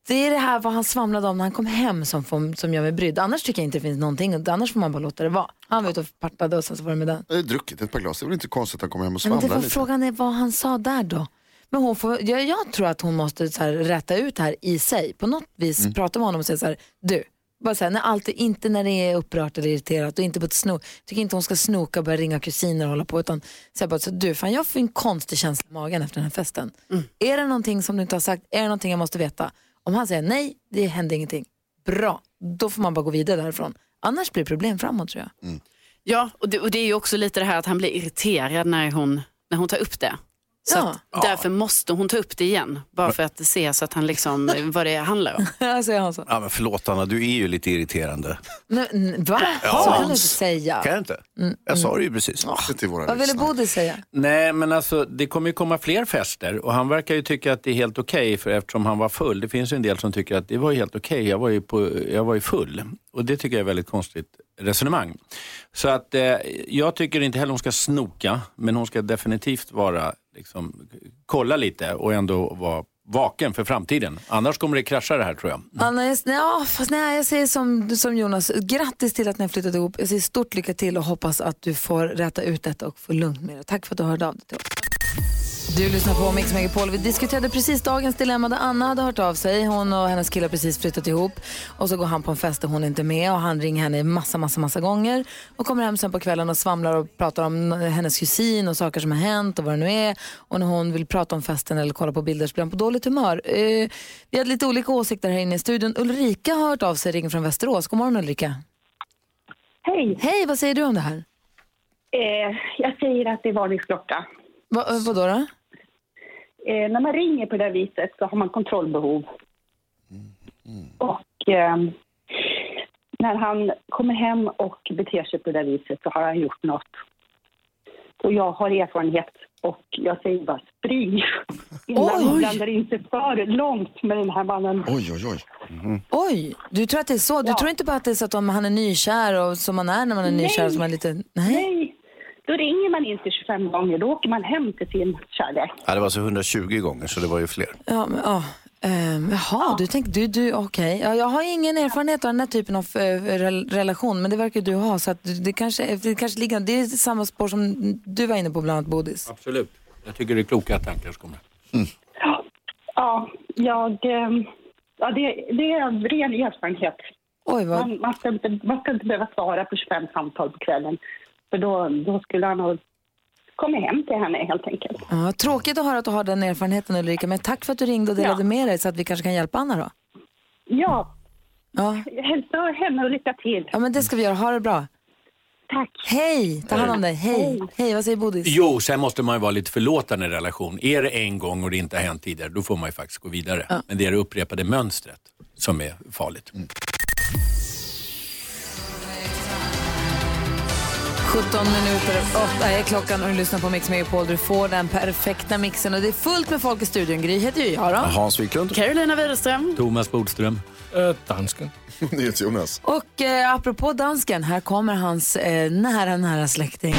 A: Det är det här vad han svamlade om när han kom hem som, får, som gör mig brydd. Annars tycker jag inte det finns någonting. och Annars får man bara låta det vara. Han var ute och partade och sen så var det med den.
E: Jag har druckit ett par glas, det är väl inte konstigt att han kommer hem och
A: Men det
E: svamlar
A: var
E: lite.
A: frågan är vad han sa där då. Men hon får, jag, jag tror att hon måste så här, rätta ut det här i sig. På något vis
C: Mm.
A: prata med honom och säga så här, du, bara så här, när allt, inte när det är upprört eller irriterat och inte på ett snok. tycker inte hon ska snoka och börja ringa kusiner och hålla på. Utan säga bara så här, du, fan jag får en konstig känsla i magen efter den här festen. Är det någonting som du inte har sagt? Är det någonting jag måste veta? Om han säger nej, det händer ingenting. Bra, då får man bara gå vidare därifrån. Annars blir det problem framåt tror jag.
C: Mm. Ja, och det, och det är ju också lite det här att han blir irriterad när hon, när hon tar upp det. Så
A: Ja.
C: att därför måste hon ta upp det igen. Bara för att se så att han liksom, vad det handlar om.
A: Ja, säger han så.
D: Ja, men förlåt Anna, du är ju lite irriterande.
A: Nej, n- va?
D: Ja.
A: Så kan du inte säga.
D: Kan jag inte? Jag sa det ju precis.
A: Vad ville Bodil säga?
D: Mm.
L: Nej, men alltså det kommer ju komma fler fester och han verkar ju tycka att det är helt okej för eftersom han var full. Det finns ju en del som tycker att det var ju helt okej, jag, var ju på- jag var ju full. Och det tycker jag är ett väldigt konstigt resonemang. Så att eh, jag tycker inte heller hon ska snoka, men hon ska definitivt vara, liksom, kolla lite och ändå vara vaken för framtiden. Annars kommer det krascha det här tror jag.
A: Anna, jag, nej, ja, fast nej, jag säger som, som Jonas, grattis till att ni har flyttat ihop. Jag säger stort lycka till och hoppas att du får rätta ut detta och få lugn med det. Tack för att du hörde av dig till oss. Du lyssnar på Mix Megapol. Vi diskuterade precis dagens dilemma där Anna hade hört av sig. Hon och hennes kille har precis flyttat ihop. Och så går han på en fest där hon inte är med och han ringer henne massa, massa, massa gånger. Och kommer hem sen på kvällen och svamlar och pratar om hennes kusin och saker som har hänt och vad det nu är. Och när hon vill prata om festen eller kolla på bilder så blir han på dåligt humör. Eh, vi hade lite olika åsikter här inne i studion. Ulrika har hört av sig, ringer från Västerås. God morgon Ulrika. Hej. Hej, vad säger du om det här?
M: Eh, jag säger att det är varningsklocka.
A: Va, vadå då?
M: Eh, när man ringer på det där viset så har man kontrollbehov. Och eh, när han kommer hem och beter sig på det där viset så har han gjort något. Och jag har erfarenhet och jag säger bara spring. Innan du
A: Oj.
M: blandar in sig för långt med den här mannen.
E: Oj, oj, oj.
A: Oj, du tror att det är så? Du tror inte bara att det är så att om han är nykär och som man är när man är
M: Nej.
A: nykär som man är lite...
M: Nej. Då ringer man inte 25 gånger, då åker man hem till sin kärlek.
D: Ja, det var alltså 120 gånger, så det var ju fler.
A: Ja, men, ja. Ehm, jaha, du tänkte, du, du, okej. Ja, jag har ingen erfarenhet av den här typen av eh, rel- relation, men det verkar du ha. Så att du- det, kanske, eh, det kanske ligger, det är samma spår som du var inne på bland annat, Bodis.
L: Absolut. Jag tycker det är kloka tankar som kommer.
M: Ja, jag, eh, ja det, det är en ren erfarenhet.
A: Oj, vad...
M: man, man, ska inte, man ska inte behöva svara på 25 samtal på kvällen. För då, då skulle han ha kommit hem till henne helt enkelt.
A: Ja, tråkigt att höra att du har den erfarenheten Ulrika, men tack för att du ringde och delade med dig så att vi kanske kan hjälpa Anna då.
M: Ja,
A: Ja,
M: hälsa henne och lycka till.
A: ja men det ska vi göra. Ha det bra.
M: Tack.
A: Hej, ta hand om dig. Hej, Hej vad säger Bodis?
L: Jo, sen måste man ju vara lite förlåtande i en relation. Är det en gång och det inte har hänt tidigare, då får man ju faktiskt gå vidare. Men det är det upprepade mönstret som är farligt.
A: 17 minuter över åtta är klockan och du lyssnar på Mix Megapol. Du får den perfekta mixen och det är fullt med folk i studion. Gry heter ju jag då.
D: Hans Wiklund.
C: Carolina Widerström.
L: Thomas Bodström.
G: Äh, dansken.
E: Jonas.
A: Och eh, apropå dansken, här kommer hans eh, nära, nära släkting.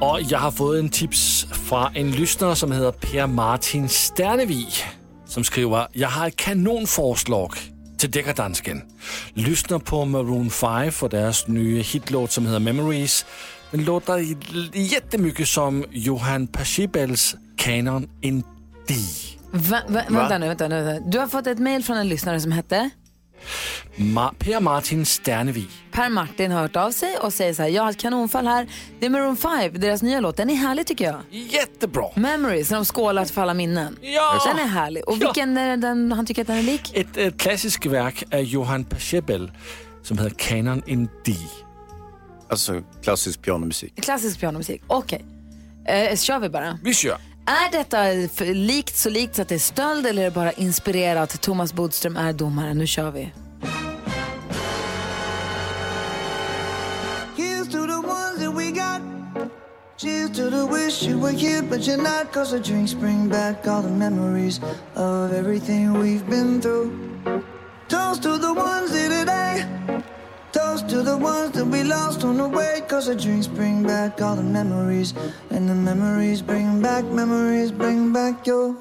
G: Og jeg har fået en tips fra en lytter, som hedder Per Martin Sternevig, som skriver, Jeg har et kanonforslag til Dækkerdansken. Lyssner på Maroon 5 for deres nye hitlåt, som hedder Memories. Den låter jättemycket som Johan Pacibels Canon in D.
A: Va, va, vänta nu, vänta nu. vänta. Du har fått ett mejl från en lyssnare som hette?
G: Ma- per Martin Sternevig.
A: Per Martin har hört av sig och säger så här, jag har ett kanonfall här. Det är Maroon 5, deras nya låt, den är härlig tycker jag.
G: Jättebra!
A: Memories, när de skålar för alla minnen.
G: Ja!
A: Den är härlig. Och vilken är den han tycker att den är lik?
G: Et, et klassisk værk af Johan Pachelbel, som hedder Canon in D.
D: Altså Alltså, klassisk pianomusik.
A: Klassisk pianomusik. Okej, eh, kör vi bara.
G: Vi kör.
A: Är detta för likt så likt så att det är stöld eller är det bara inspirerat? Thomas Bodström är domare, nu kör vi.
I: Here's to the ones that we got. Cheers to the wish you were here, but you're not. Cause the drinks bring back all the memories of everything we've been through. Toast to the ones here today. Toast to the ones that we lost on the way. Cause the drinks bring back all the memories. And the memories bring back memories, bring back your.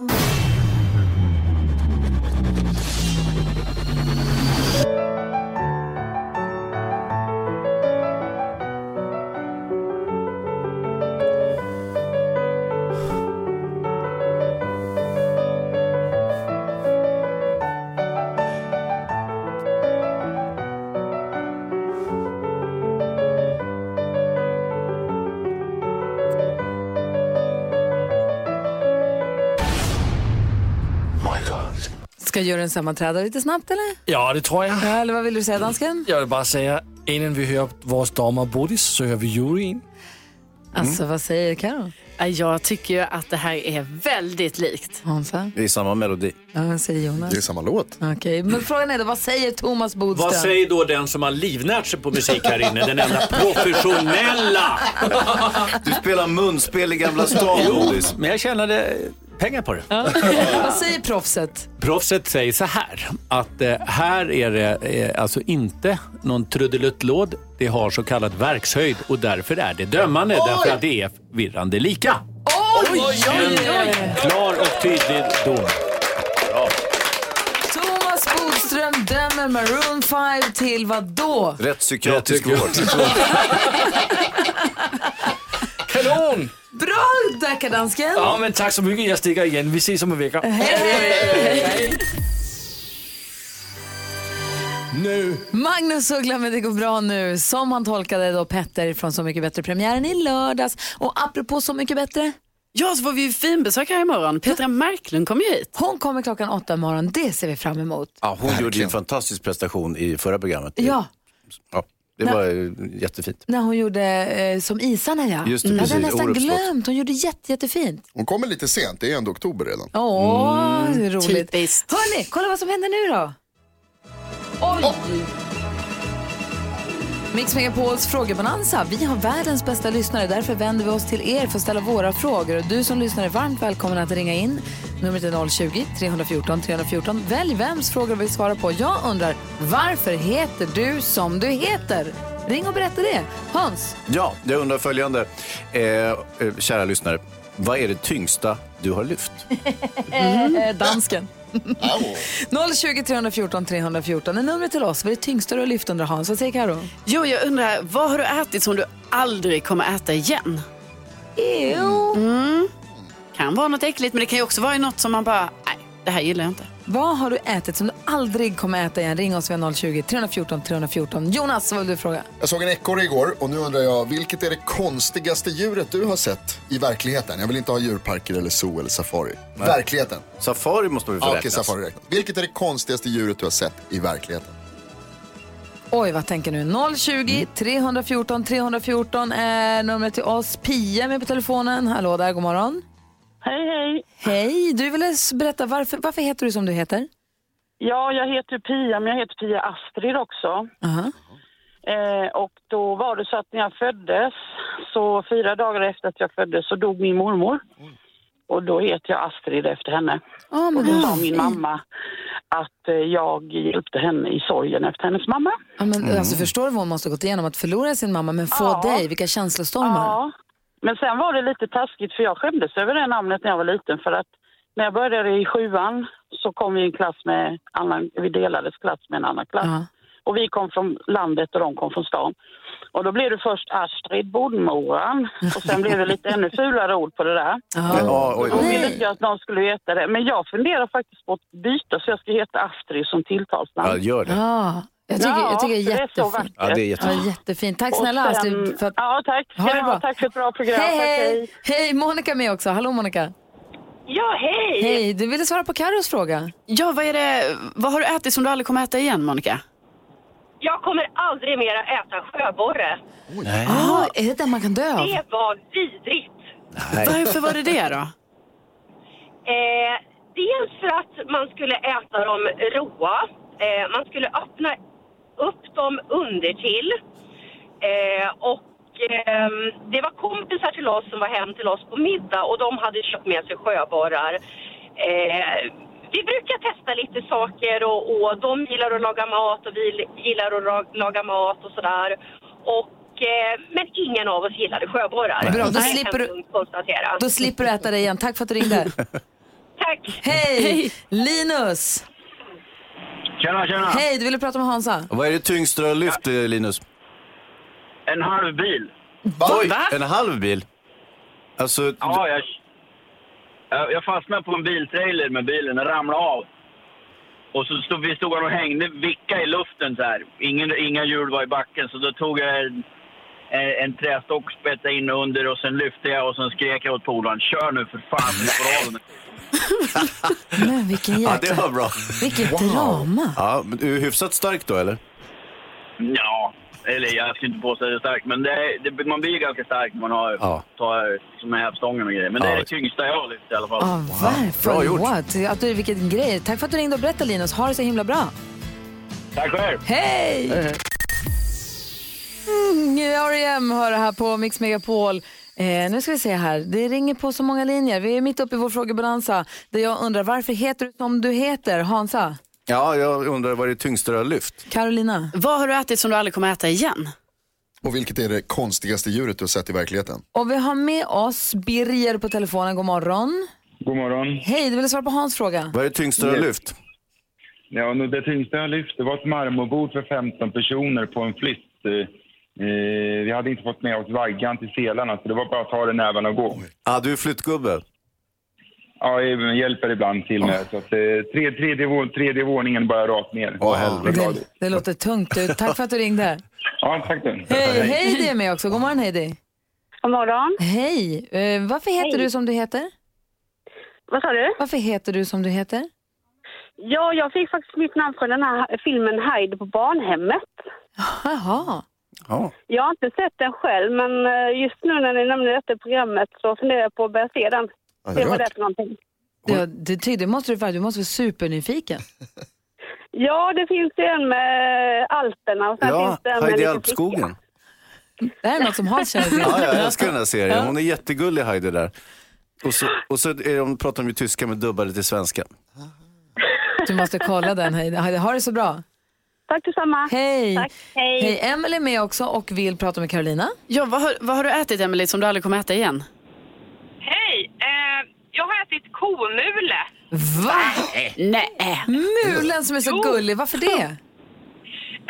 A: Ska juryn sammanträda lite snabbt eller?
G: Ja, det tror jeg.
A: Ja, eller vad vill du säga dansken?
G: Jeg vil bare sige, inden vi hører vores dommer Bodis, så hører vi juryen.
A: Alltså vad säger Karo?
C: Jag tycker ju att det här är väldigt likt.
A: Hansa?
D: Det är samma melodi.
A: Ja, vad säger Jonas?
E: Det är samma låt.
A: Okej, men frågan är då vad säger Thomas Bodström?
L: Vad säger då den som har livnärt sig på musik här inne? Den enda professionella!
D: Du spelar munspel i Gamla stan, Bodis.
L: Men jag tjänade pengar på det.
A: vad säger proffset?
L: Proffset säger så här, att eh, här är det eh, alltså inte någon trudeluttlåd. Det har så kallad verkshöjd och därför är det dömande, därför att det är virrande lika.
A: Oj, oj, oj, oj.
L: Klar och tydlig dom.
A: Thomas Bodström dömer Maroon 5 till vad då?
D: Rättspsykiatrisk vård.
G: Kanon!
A: Bra deckardansken!
G: Ja, men tak så mycket. Jeg stikker igen. Vi ses om en vækker. Nu!
A: Magnus Uggla med Det går bra nu, som han tolkade då Petter från Så mycket bättre-premiären i lördags. Och apropå Så mycket bättre.
C: Ja, så får vi ju finbesök här imorgon. Petra Marklund kommer ju hit.
A: Hon kommer klockan åtta imorgon, det ser vi fram emot.
D: Ja, hon gjorde ju en fantastisk prestation i förra programmet.
A: Ja,
D: Ja, det var eh, jättefint.
A: när hon gjorde eh, Som isarna ja.
D: Just det,
A: jag hade
D: precis,
A: nästan
D: Orups slott.
A: glömt, hon gjorde jätte, jättefint.
E: Hon kommer lite sent, det är ändå oktober redan.
A: Åh,
E: Mm,
A: det är roligt. Hörni, kolla vad som händer nu då. Oj! Mix Megapols frågebonanza. Vi har världens bästa lyssnare. Därför vänder vi oss till er för att ställa våra frågor. Och Du som lyssnar är varmt välkommen att ringa in. Numret är 020-314 314. Välj vems frågor du vill svara på. Jag undrar, varför heter du som du heter? Ring och berätta det. Hans,
D: Ja, jag undrar följande. Eh, eh, kära lyssnare, vad är det tyngsta du har lyft?
A: eh, dansken. 020 314 314 är numret till oss. Vad är det tyngsta du har lyft under Hans? Vad säger Karo?
C: Jo, jag undrar, vad har du ätit som du aldrig kommer äta igen?
A: Ew.
C: Mm. Kan vara något äckligt, men det kan ju också vara något som man bara, nej, det här gillar jag inte.
A: Vad har du ätit som du aldrig kommer äta igen? Ring oss via 020 314 314. Jonas, vad vill du fråga?
E: Jag såg en ekorre igår och nu undrar jag, vilket är det konstigaste djuret du har sett i verkligheten? Jag vill inte ha djurparker eller zoo eller safari.
D: Nej.
E: Verkligheten.
D: Safari måste vi få
E: Ja, Okej,
D: räknas.
E: safari räknas. Vilket är det konstigaste djuret du har sett i verkligheten?
A: Oj, vad tänker nu? 020 314 314 är numret till oss. Pia är med på telefonen. Hallå där, god morgon.
N: Hej, hej.
A: Hej, du ville s- berätta varför, varför heter du som du heter?
N: Ja, jag heter Pia, men jag heter Pia Astrid också.
A: Aha.
N: Eh, och då var det så att när jag föddes, så fyra dagar efter att jag föddes, så dog min mormor. Och då heter jag Astrid efter henne.
A: Ja, men
N: och då
A: vad
N: sa min
A: fint.
N: mamma att eh, jag hjälpte henne i sorgen efter hennes mamma.
A: Ja, men, alltså, förstår du vad hon måste ha gått igenom? Att förlora sin mamma, men få
N: Mm. Ja.
A: dig. Vilka känslostormar.
N: Ja, men sen var det lite taskigt för jag skämdes över det namnet när jag var liten för att när jag började i sjuan så kom vi i en klass med annan, vi delades klass med en annan klass. Och vi kom från landet och de kom från stan. Och då blev det först Astrid Bodmoran och sen blev det lite ännu fulare ord på det där.
D: Ja, oj,
N: Då
D: oj.
N: ville inte jag att någon skulle heta det. Men jag funderar faktiskt på att byta så jag ska heta Astrid som tilltalsnamn.
D: Ja, gör det.
A: Ja, jag tycker, jag tycker det är
N: för det är så
A: jättefint.
D: vackert. Ja, det är jättefint.
A: jättefint. Tack
N: Och
A: snälla
N: sen-
A: Astrid. För att...
N: Ja, tack.
A: Ha det
N: Ja,
A: bra.
N: tack för ett bra program.
A: Hej,
N: Tack,
A: hej.
N: hej.
A: Hej, Monica är med också. Hallå Monica.
N: Ja, hej.
A: Hej, du ville svara på Carros fråga.
C: Ja, vad, är det, vad har du ätit som du aldrig kommer äta igen, Monica?
O: Jag kommer aldrig mer att äta sjöborre.
A: Ja, Ah, är det den man kan dö av?
O: Det var vidrigt.
C: Varför var det det då?
O: Eh, dels för att man skulle äta dem råa. Eh, man skulle öppna upp dem undertill. Eh, och ehm, det var kompisar till oss som var hem till oss på middag och de hade köpt med sig sjöborrar. Eh, vi brukar testa lite saker och, och de gillar att laga mat och vi gillar att ra- laga mat och sådär. Och, eh, men ingen av oss gillade sjöborrar.
A: Bra, då
O: Det kan
A: slipper
O: jag
A: du-
O: lugnt konstatera.
A: Då slipper du äta det igen. Tack för att du ringde.
O: Tack.
A: Hej! Linus!
P: Tjena, tjena.
A: Hej, du ville prata med Hansa.
D: Vad är det tyngst du har lyft, eh, Linus?
P: En halv bil.
D: Oj, en halv bil? Alltså,
P: Ah. Ja, jag, Eh, jag- jag fastnade på en biltrailer med bilen. Den ramlade av. Och så stod, vi stod och hängde, vicka i luften så här. Ingen, inga hjul var i backen, så då tog jag en, en, en trästock, spetsade in under och sen lyfte jag och sen skrek jag åt polaren. Kör nu för fan, vi får av den.
A: Men vilken
D: ja,
A: jäkla...
D: det var bra.
A: Vilket drama.
D: Ja, men du är hyfsat stark då, eller?
P: Ja, eller jag skulle inte påstå att jag är stark, men det, det, man blir ju ganska stark när man har,
D: Ja.
P: tar som hävstången och grejer. Men det är
D: Ja.
P: det tyngsta jag har lyft i alla fall.
A: Ja, Ah, varför? What? Att du, vilken grej. Tack för att du ringde och berättade Linus. Ha det så himla bra.
P: Tack själv!
A: Hej! Mm, R.E.M. hör det här på Mix Megapol. Eh, nu ska vi se här, det ringer på så många linjer. Vi är mitt uppe i vår frågebalansa där jag undrar varför heter du som du heter, Hansa?
D: Ja, jag undrar vad är det tyngsta du har lyft?
A: Carolina?
C: Vad har du ätit som du aldrig kommer äta igen?
E: Och vilket är det konstigaste djuret du har sett i verkligheten?
A: Och vi har med oss Birger på telefonen, god morgon.
Q: God morgon.
A: Hej, du ville svara på Hans fråga.
D: Vad är det tyngsta du har lyft?
Q: Ja, nu det tyngsta jag lyft det var ett marmorbord för 15 personer på en flytt. Eh, eh, vi hade inte fått med oss vaggan till selarna så det var bara att ta den näven och gå.
D: Ja, du är flyttgubbe.
Q: Ja, jag hjälper ibland till med. Så att, eh, tre, tredje, vå- tredje våningen bara rakt ner. Åh,
A: Det, det låter tungt ut. Tack för att du ringde.
Q: Ja, tack du.
A: Eh, Hej, Heidi är med också. God morgon Heidi.
O: God morgon.
A: Hej. Eh, varför heter
O: Hej.
A: du som du heter?
O: Vad sa du?
A: Varför heter du som du heter?
O: Ja, jag fick faktiskt mitt namn från den här filmen Hyde på barnhemmet.
A: Jaha.
O: Jag har inte sett den själv, men eh, just nu när ni nämner detta programmet så funderar jag på att börja se den.
A: Ja, det är
O: Se vad det
A: klart.
O: är för någonting.
A: Det, det, ty- det måste du vara. Du måste vara supernyfiken.
O: Ja, det finns ju en med Alperna och sen finns det en med
D: Heidi
O: lite
D: Alpskogen.
A: Det här är något som Hans känner till.
D: Ja, jag älskar den här serien. Hon är jättegullig, Heidi, där. Och så, och så är de, pratar de ju tyska men dubbade till svenska.
A: Du måste kolla den Heidi. Heidi, Ha det så bra.
O: Tack detsamma.
A: Hej.
C: Tack, hej.
A: hej. Emelie är med också och vill prata med Carolina.
C: Ja, vad har, vad har du ätit, Emelie, som du aldrig kommer äta igen?
O: Hej! Eh, jag har ätit komule.
A: Va?
C: Nej.
A: Mulen som är så gullig, varför det?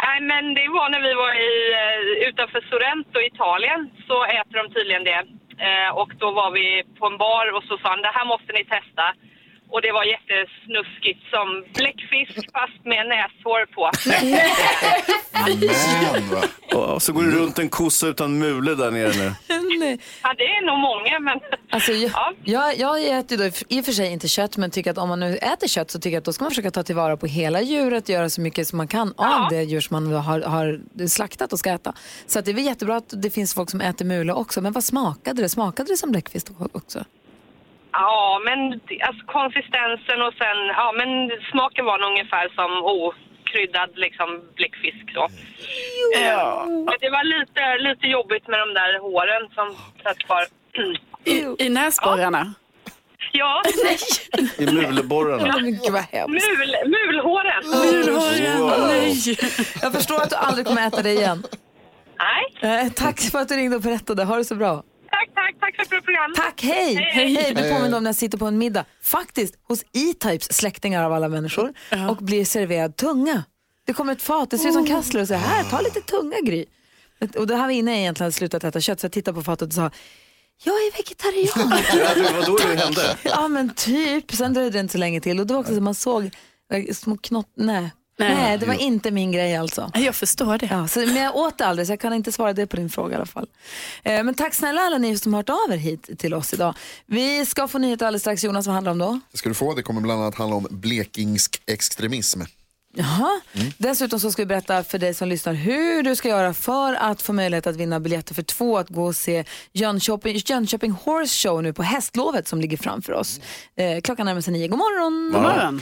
O: Nej, men det var när vi var i, eh, utanför Sorrento, Italien, så äter de tydligen det. Eh, och då var vi på en bar och så sa han, det här måste ni testa. och det var jättesnuskigt som bläckfisk fast med näshår på.
D: Och så går
A: Mm.
D: du runt en kossa utan mule där nere nu.
O: ja, det är nog många, men
A: Alltså, jag, jag, jag äter ju då i och för sig inte kött, men tycker att om man nu äter kött så tycker jag att då ska man försöka ta tillvara på hela djuret, göra så mycket som man kan av det djur som man har, har slaktat och ska äta. Så att det är väl jättebra att det finns folk som äter mule också, men vad smakade det? Smakade det som bläckfisk då också?
O: ja, men det- alltså, konsistensen och sen, ja, men smaken var nog ungefär som okryddad liksom bläckfisk så. Eh, Men det var lite, lite jobbigt med de där håren som satt kvar.
C: I, i näsborrarna?
O: Ja.
D: I muleborrarna.
A: Gud vad hemskt.
O: Mul, mulhåren.
D: Wow.
A: Jag förstår att du aldrig kommer äta det igen. Nej. Tack för att du ringde och berättade. Ha det så bra.
O: Tack, tack, tack för ett bra program.
A: Tack, hej! Hej, hej. Du påminner om när jag sitter på en middag, faktiskt hos E-Types släktingar av alla människor, och blir serverad tunga. Det kommer ett fat, det ser ut som kassler och säger här, ta lite tunga Gry. Och det här var innan jag egentligen hade slutat äta kött, så jag tittade på fatet och sa, jag är vegetarian.
D: Det var då det hände.
A: ja men typ, sen dröjde det inte så länge till och det var också så man såg eh, små knott, nej. Nej, det var inte min grej alltså.
C: Jag förstår det.
A: Ja, så, men jag åt det aldrig så jag kan inte svara det på din fråga i alla fall. Eh, men tack snälla alla ni som har hört av er hit till oss idag. Vi ska få nyheter alldeles strax. Jonas, vad handlar det om då?
E: Det ska du få. Det kommer bland annat handla om blekingsk extremism.
A: Jaha. Dessutom så ska vi berätta för dig som lyssnar hur du ska göra för att få möjlighet att vinna biljetter för två att gå och se Jönköping, Jönköping Horse Show nu på hästlovet som ligger framför oss. Eh, klockan närmar sig nio. God morgon!